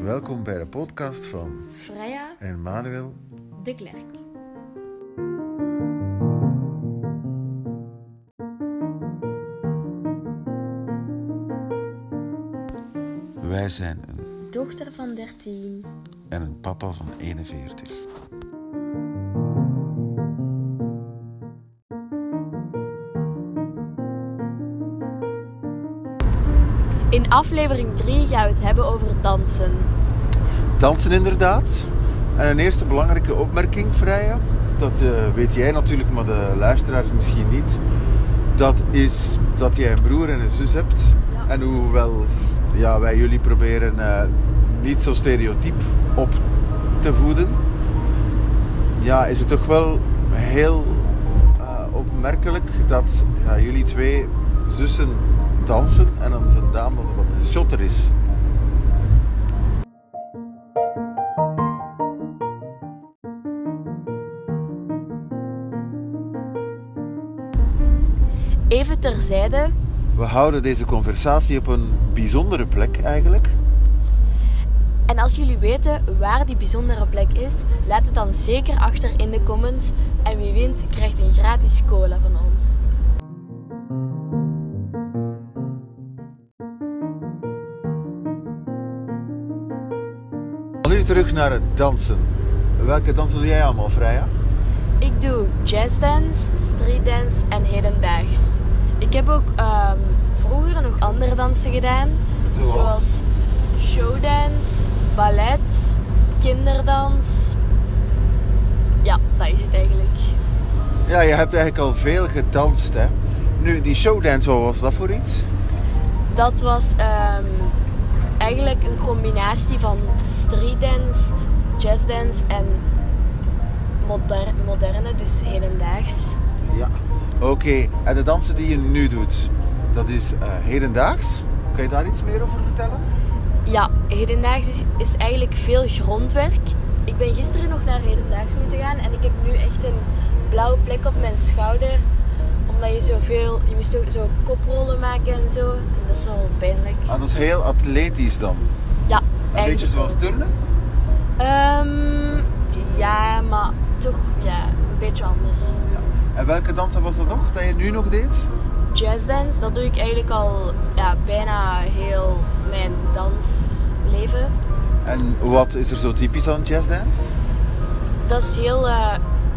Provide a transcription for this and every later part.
Welkom bij de podcast van Freya Emmanuel. de Klerk. Wij zijn een Dochter van 13. en een papa van 41. In aflevering 3 gaan we het hebben over dansen. Dansen inderdaad. En een eerste belangrijke opmerking, Freya. Dat eh, weet jij natuurlijk, maar de luisteraars misschien niet. Dat is dat jij een broer en een zus hebt. Ja. En hoewel ja, wij jullie proberen eh, niet zo stereotyp op te voeden, ja, is het toch wel heel eh, opmerkelijk dat ja, jullie twee zussen dansen en dan vandaan dat het dan een shotter is. Even terzijde, We houden deze conversatie op een bijzondere plek eigenlijk. en als jullie weten waar die bijzondere plek is, laat het dan zeker achter in de comments. En wie wint, krijgt een gratis cola van ons. Dan nu terug naar het dansen. Welke dansen doe jij allemaal, Freya? Ik doe jazzdance, streetdance en hedendaags. Ik heb ook ehm, vroeger nog andere dansen gedaan. Zoals? showdance, ballet, kinderdans. Ja, dat is het eigenlijk. Ja, je hebt eigenlijk al veel gedanst, hè? Nu, die showdance, wat was dat voor iets? Dat was ehm, eigenlijk een combinatie van streetdance, jazzdance en moder- moderne, dus hedendaags. Ja. Oké, en de dansen die je nu doet, dat is eh, hedendaags. Kan je daar iets meer over vertellen? Ja, hedendaags is, is eigenlijk veel grondwerk. Ik ben gisteren nog naar hedendaags moeten gaan en ik heb nu echt een blauwe plek op mijn schouder. Omdat je zoveel, je moest zo, zo koprollen maken en zo. En dat is wel pijnlijk. Ah, dat is heel atletisch dan. Een Ja, beetje eigenlijk wel. zoals turnen? Ehm, ja, maar toch ja, een beetje anders. Ja. En welke dansen was dat nog, dat je nu nog deed? Jazzdance, dat doe ik eigenlijk al ja, bijna heel mijn dansleven. En wat is er zo typisch aan jazzdance? Dat is heel eh,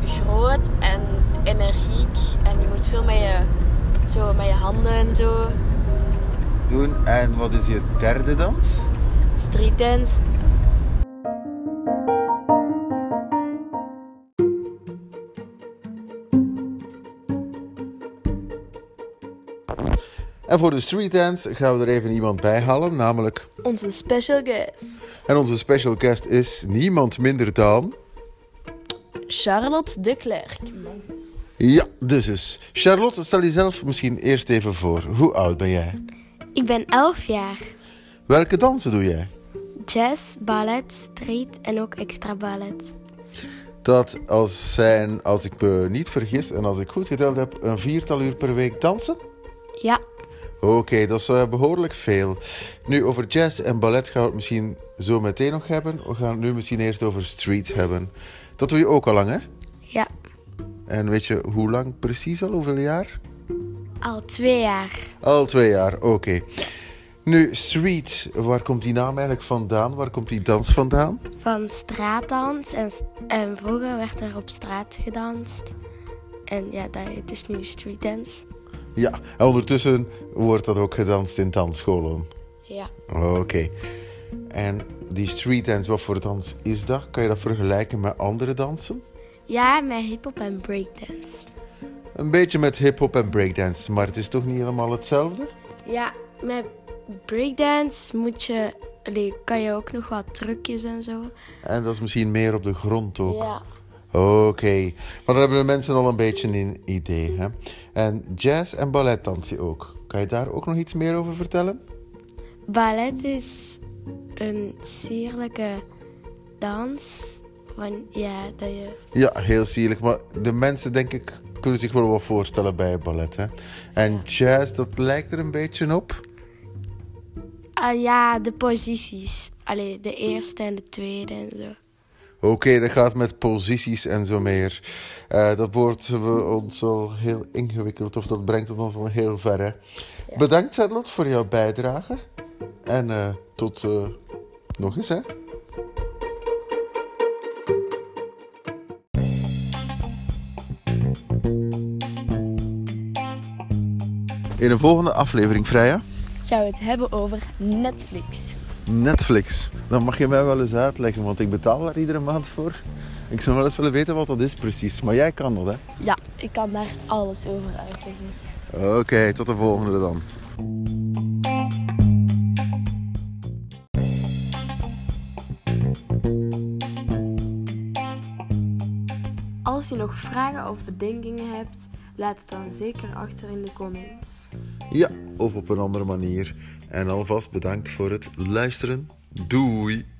groot en energiek. En je moet veel met je, zo, met je handen en zo. doen. En wat is je derde dans? Streetdance. En voor de streetdance gaan we er even iemand bij halen, namelijk... Onze special guest. En onze special guest is niemand minder dan... Charlotte de Klerk. Ja, de zus. Charlotte, stel jezelf misschien eerst even voor. Hoe oud ben jij? Ik ben 11 jaar. Welke dansen doe jij? Jazz, ballet, street en ook extra ballet. Dat als zijn, als ik me niet vergis en als ik goed geteld heb, een viertal uur per week dansen? Ja, Oké, dat is eh, behoorlijk veel. Nu, over jazz en ballet gaan we het misschien zo meteen nog hebben. We gaan het nu misschien eerst over street hebben. Dat doe je ook al lang, hè? ja. En weet je hoe lang precies al? Hoeveel jaar? Al twee jaar. Al twee jaar, oké. Nu, street, waar komt die naam eigenlijk vandaan? Waar komt die dans vandaan? Van straatdans en, s- en vroeger werd er op straat gedanst. En ja, dat het is nu streetdance. Ja, en ondertussen wordt dat ook gedanst in dansscholen. Ja. Oké. En die street dance, wat voor dans is dat? Kan je dat vergelijken met andere dansen? Ja, met hiphop en breakdance. Een beetje met hip-hop en breakdance, maar het is toch niet helemaal hetzelfde? Ja, met breakdance moet je, allee, kan je ook nog wat trucjes en zo. En dat is misschien meer op de grond ook. Ja. Oké, maar daar hebben de mensen al een beetje een idee. Hè? En jazz en ballet dans je ook. Kan je daar ook nog iets meer over vertellen? Ballet is een sierlijke dans. Van, ja, dat je Ja, heel sierlijk. Maar de mensen, denk ik, kunnen zich wel wat voorstellen bij ballet. Hè? En jazz, dat lijkt er een beetje op. Ah ja, de posities. Allee, de eerste en de tweede en zo. Oké, dat gaat met posities en zo meer. Eh, dat woord hebben we ons al heel ingewikkeld, of dat brengt ons al heel ver. Hè? Bedankt Charlotte voor jouw bijdrage. En eh, tot eh, nog eens, hè? In de volgende aflevering, Freya. Gaan we het hebben over Netflix. Netflix. Dan mag je mij wel eens uitleggen, want ik betaal daar iedere maand voor. Ik zou wel eens willen weten wat dat is precies, maar jij kan dat, hè? Ja, ik kan daar alles over uitleggen. Oké, tot de volgende dan. Als je nog vragen of bedenkingen hebt, laat het dan zeker achter in de comments. Ja, of op een andere manier. En alvast bedankt voor het luisteren. Doei!